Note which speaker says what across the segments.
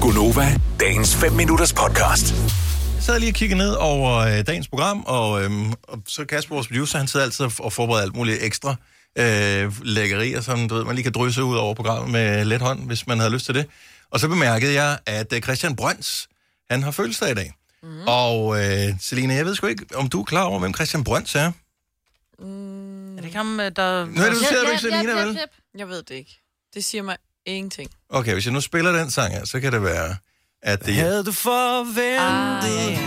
Speaker 1: Gunova, dagens 5 minutters podcast.
Speaker 2: Jeg sad lige og kiggede ned over øh, dagens program, og, øhm, og så Kasper, vores producer, han sidder altid og- og forbereder alt muligt ekstra øh, lækkerier, som du ved, man lige kan drysse ud over programmet med let hånd, hvis man havde lyst til det. Og så bemærkede jeg, at øh, Christian Brøns, han har fødselsdag i dag. Mm. Og øh, Selina, jeg ved sgu ikke, om du er klar over, hvem Christian Brøns er?
Speaker 3: Er det ikke ham, øh, der...
Speaker 2: Nu er det, du ser du ikke Selina, vel?
Speaker 4: Jeg ved det ikke. Det siger mig ingenting.
Speaker 2: Okay, hvis jeg nu spiller den sang her, så kan det være, at det
Speaker 5: Havde du forventet,
Speaker 4: Ah, ja,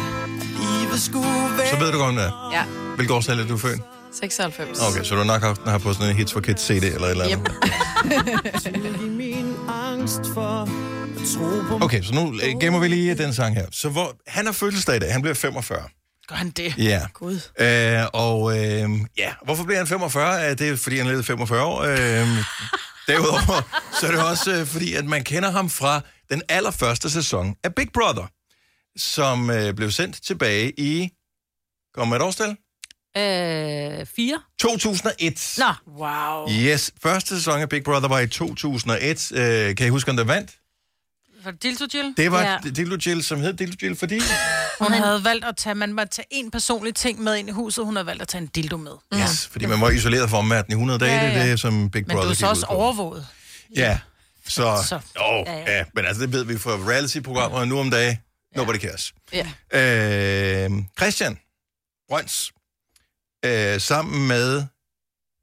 Speaker 5: livet skulle
Speaker 2: Så
Speaker 5: være
Speaker 2: ved du godt, om det er.
Speaker 4: Ja,
Speaker 2: Hvilket årstal er du født?
Speaker 4: 96.
Speaker 2: Okay, så du har nok haft den her på sådan en Hits for Kids CD eller et eller andet.
Speaker 4: Yep.
Speaker 5: i min angst for at tro på
Speaker 2: Okay, så nu øh, gemmer vi lige den sang her. Så hvor, han har fødselsdag i dag. Han bliver 45.
Speaker 3: Gør han det?
Speaker 2: Ja.
Speaker 4: Gud.
Speaker 2: Øh, og øh, ja, hvorfor bliver han 45? Øh, Det er, fordi han levede 45 år. Øh, derudover, så er det også, øh, fordi at man kender ham fra den allerførste sæson af Big Brother, som øh, blev sendt tilbage i... Kommer et årstal?
Speaker 3: Øh, fire?
Speaker 2: 2001.
Speaker 3: Nå,
Speaker 4: Wow.
Speaker 2: Yes, første sæson af Big Brother var i 2001. Øh, kan I huske, om der vandt?
Speaker 3: var det Dildo Jill?
Speaker 2: Det var ja.
Speaker 6: Ja.
Speaker 2: Dildo Jill, som hed Dildo Jill, fordi...
Speaker 3: Hun havde valgt at tage... Man måtte tage en personlig ting med ind i huset. Hun havde valgt at tage en dildo med.
Speaker 4: Mm.
Speaker 2: Yes, fordi man var isoleret fra omverdenen i 100 dage, ja,
Speaker 3: Ja,
Speaker 2: ja. det er
Speaker 3: ja.
Speaker 2: det, som Big
Speaker 3: Men
Speaker 2: Brother
Speaker 3: du er så
Speaker 2: gik
Speaker 3: også
Speaker 2: ud på.
Speaker 3: overvåget.
Speaker 2: Ja, så... så.
Speaker 3: Så-
Speaker 2: Oh, ja,
Speaker 6: Ja,
Speaker 2: ja.
Speaker 6: ja.
Speaker 2: ja, men altså, det ved vi fra reality-programmer nu om dagen. Nobody cares.
Speaker 4: Ja.
Speaker 2: Øh, Christian Brøns, øh, sammen med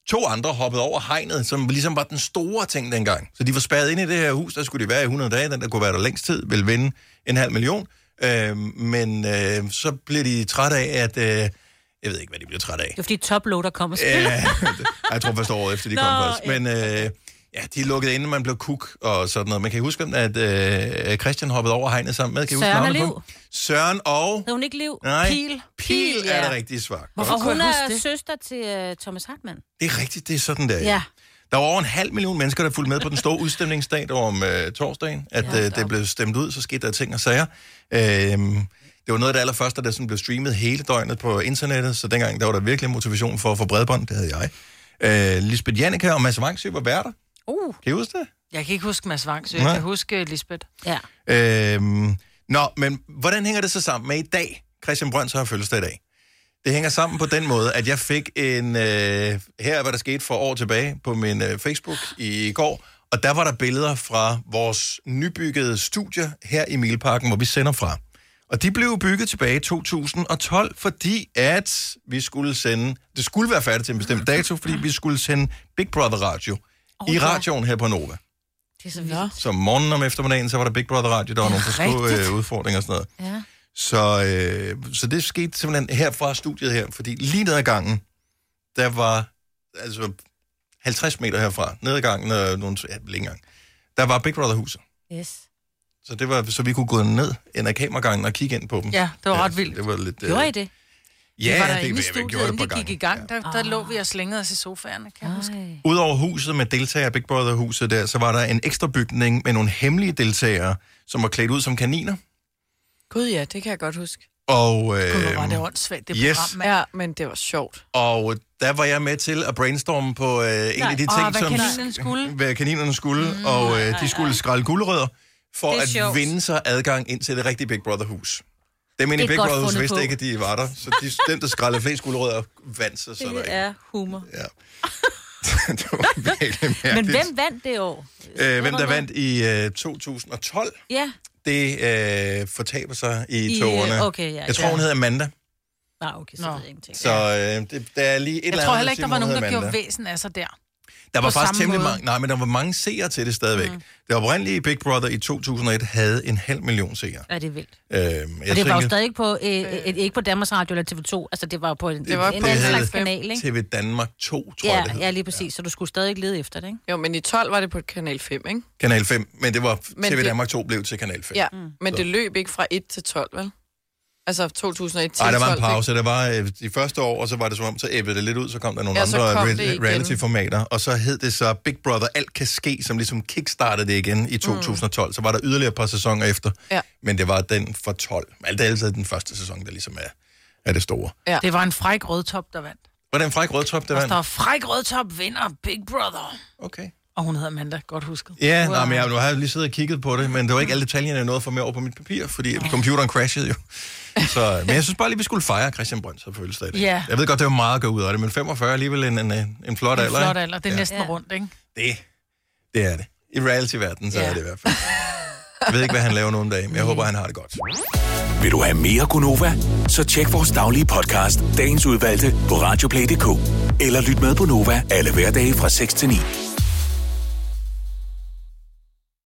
Speaker 2: to andre hoppede over hegnet, som ligesom var den store ting dengang. Så de var spærret ind i det her hus, der skulle de være i 100 dage, den der kunne være der længst tid, ville vinde en halv million. Øh, men øh, så blev de trætte af, at... Øh, jeg ved ikke, hvad de blev trætte af.
Speaker 6: Det var fordi toploader kom og spillede.
Speaker 2: Ja, jeg tror først året efter, de Nå, kom først. Men øh, ja, de lukkede inden man blev kuk og sådan noget. Man kan I huske, hvem at øh, Christian hoppede over hegnet sammen med. Kan I huske
Speaker 6: Søren og
Speaker 2: navnet på ham? Søren og...
Speaker 6: Hed hun ikke Liv?
Speaker 2: Nej,
Speaker 3: Pil.
Speaker 2: Pil,
Speaker 6: Pil,
Speaker 2: er
Speaker 6: ja.
Speaker 2: det rigtige svar.
Speaker 6: Hvorfor og
Speaker 3: kunne
Speaker 6: hun
Speaker 3: jeg
Speaker 6: er
Speaker 3: huske det?
Speaker 6: søster til uh, Thomas Hartmann.
Speaker 2: Det er rigtigt, det er sådan der.
Speaker 6: Ja.
Speaker 2: Der var over en halv million mennesker, der fulgte med på den store udstemningsdag der var om øh, torsdagen, at
Speaker 6: Ja,
Speaker 2: øh, det blev stemt ud, så skete der ting og sager. Øhm, det var noget af det allerførste, der sådan blev streamet hele døgnet på internettet, så dengang der var der virkelig motivation for at få bredbånd, det havde jeg. Øh, Lisbeth Janneke og Mads Vangsø var værter.
Speaker 6: Uh.
Speaker 2: Kan I huske det?
Speaker 3: Jeg kan ikke huske Mads Wang, så jeg
Speaker 2: Nej.
Speaker 3: kan huske øh, Lisbeth.
Speaker 6: Ja.
Speaker 2: Øhm, nå, men hvordan hænger det så sammen med i dag? Christian Brøns har fødselsdag i dag. Det hænger sammen på den måde, at jeg fik en... Øh, her er, hvad der skete for år tilbage på min øh, Facebook i går. Og der var der billeder fra vores nybyggede studie her i Milparken, hvor vi sender fra. Og de blev bygget tilbage i 2012, fordi at vi skulle sende... Det skulle være færdigt til en bestemt dato, fordi vi skulle sende Big Brother Radio oh, i
Speaker 6: ja.
Speaker 2: radioen her på Nova.
Speaker 6: Det er så vildt.
Speaker 2: Så om morgenen om eftermiddagen, så var der Big Brother Radio, der var nogle forskellige øh, udfordringer og sådan noget.
Speaker 6: Ja.
Speaker 2: Så, øh, så det skete simpelthen her fra studiet her, fordi lige ned ad gangen, der var altså 50 meter herfra, ned ad gangen, øh, nogle, ja, vel ikke engang, der var Big Brother huset.
Speaker 6: Yes.
Speaker 2: Så, det var, så vi kunne gå ned ind ad kameragangen og kigge ind på dem.
Speaker 3: Ja, det var ret
Speaker 2: så
Speaker 3: vildt.
Speaker 2: Det var lidt, øh,
Speaker 6: Gjorde I det?
Speaker 2: Ja,
Speaker 3: var
Speaker 2: det,
Speaker 3: der inde i
Speaker 2: det, vi gjorde
Speaker 3: studiet,
Speaker 2: det
Speaker 3: inden
Speaker 2: på
Speaker 3: det
Speaker 2: gang.
Speaker 3: gik i gang. Der, der lå vi og slængede os i sofaerne, kan jeg huske.
Speaker 6: Ej.
Speaker 2: Udover huset med deltagere i Big Brother-huset der, så var der en ekstra bygning med nogle hemmelige deltagere, som var klædt ud som kaniner.
Speaker 4: Gud ja, det kan jeg godt huske.
Speaker 2: Og,
Speaker 3: Gud, hvor var
Speaker 2: øhm,
Speaker 3: det åndssvagt, det
Speaker 2: yes.
Speaker 3: program, mand.
Speaker 4: Ja, men det var sjovt.
Speaker 2: Og der var jeg med til at brainstorme på øh, en af de ting,
Speaker 3: Åh, hvad
Speaker 2: som
Speaker 3: kaninerne skulle.
Speaker 2: hvad kaninerne skulle. Mm, og øh, de skulle skrælle guldrødder for
Speaker 6: Det er
Speaker 2: at
Speaker 6: sjovt.
Speaker 2: vinde sig adgang ind til det rigtige Big Brother-hus. Dem inde i
Speaker 6: Det er
Speaker 2: Big
Speaker 6: godt
Speaker 2: Brother-hus
Speaker 6: fundet
Speaker 2: vidste
Speaker 6: på.
Speaker 2: ikke, at de var der. Så de, dem, der skrællede flest guldrødder, vandt sig så der
Speaker 6: Det
Speaker 2: ikke.
Speaker 6: er humor.
Speaker 2: Ja. det var virkelig mærkeligt.
Speaker 6: Men hvem vandt det år?
Speaker 2: øh, hvem der vandt i øh, 2012,
Speaker 6: Ja.
Speaker 2: det øh, fortaber sig i,
Speaker 6: I,
Speaker 2: tårerne.
Speaker 6: øh, okay, ja,
Speaker 2: jeg tror,
Speaker 6: ja.
Speaker 2: hun hedder Amanda.
Speaker 6: Nej, okay, så
Speaker 3: Nå.
Speaker 6: ved jeg ingenting.
Speaker 2: Så øh, det, der er lige et
Speaker 3: Jeg
Speaker 2: eller
Speaker 3: tror
Speaker 2: andet,
Speaker 3: heller ikke,
Speaker 2: siger,
Speaker 3: der var
Speaker 2: hun
Speaker 3: nogen, der
Speaker 2: hedder
Speaker 3: gjorde
Speaker 2: Amanda.
Speaker 3: væsen af sig der.
Speaker 2: Der var
Speaker 3: på
Speaker 2: faktisk
Speaker 3: samme
Speaker 2: temmelig
Speaker 3: måde.
Speaker 2: mange, nej, men der var mange seere til det stadigvæk. Mm. Det oprindelige Big Brother i 2001 havde en halv million seere.
Speaker 6: Ja, det er vildt.
Speaker 2: Øhm, jeg
Speaker 6: Og det var jo
Speaker 2: tænker,
Speaker 6: stadig ikke på, øh, øh, ikke på Danmarks Radio eller TV2. Altså, det var jo på en,
Speaker 4: Det var
Speaker 6: en
Speaker 4: på
Speaker 6: anden
Speaker 4: havde-
Speaker 6: slags kanal, ikke?
Speaker 2: TV Danmark 2, tror
Speaker 6: Ja,
Speaker 2: jeg, det hed.
Speaker 6: ja, lige præcis. Så du skulle stadig lede efter det, ikke?
Speaker 4: Jo, men i 12 var det på Kanal 5, ikke?
Speaker 2: Kanal 5, men det var
Speaker 4: Men
Speaker 2: TV
Speaker 4: det-
Speaker 2: Danmark 2 blev til Kanal 5.
Speaker 4: Ja, mm. men det løb ikke fra 1 til 12, vel? Altså 2001 til
Speaker 2: Ej, der var
Speaker 4: 12.
Speaker 2: en pause. Der var øh, de første år, og så var det som om, så æbbede det lidt ud, så kom der nogle
Speaker 4: Ja, så
Speaker 2: andre
Speaker 4: kom
Speaker 2: re-
Speaker 4: det igen.
Speaker 2: reality-formater, og så hed det så Big Brother Alt Kan Ske, som ligesom kickstartede det igen i 2012. Mm. Så var der yderligere et par sæsoner efter,
Speaker 4: Ja.
Speaker 2: men det var den for 12. Alt er altid den første sæson, der ligesom er, er det store.
Speaker 4: Ja.
Speaker 3: Det var en fræk rødtop, der vandt.
Speaker 2: Var det en fræk rødtop, der
Speaker 3: Der
Speaker 2: vandt?
Speaker 3: står, fræk rødtop vinder Big Brother.
Speaker 2: Okay.
Speaker 3: Og hun hedder Amanda, godt husket.
Speaker 2: Ja, wow. nej, men jeg, nu har jeg lige siddet og kigget på det, men det var ikke alle detaljerne, jeg nåede at få med over på mit papir, fordi computeren crashede jo. Så, men jeg synes bare lige, vi skulle fejre Christian Brønds fødselsdag. i dag.
Speaker 3: Ja.
Speaker 2: Jeg ved godt, det var meget at gå ud af det, men 45 er alligevel en, en, en, en flot alder.
Speaker 3: Eller, Flot
Speaker 2: ikke?
Speaker 3: alder, det er ja. næsten
Speaker 6: Ja.
Speaker 3: rundt, ikke?
Speaker 2: Det, det er det. I reality-verdenen, så ja.
Speaker 4: Ja.
Speaker 2: er det i hvert fald. Jeg ved ikke, hvad han laver nogle dage, men jeg håber, han har det godt.
Speaker 1: Vil du have mere Gunova? Så tjek vores daglige podcast, dagens udvalgte, på radioplay.dk. Eller lyt med på Nova alle hverdage fra 6 til 9.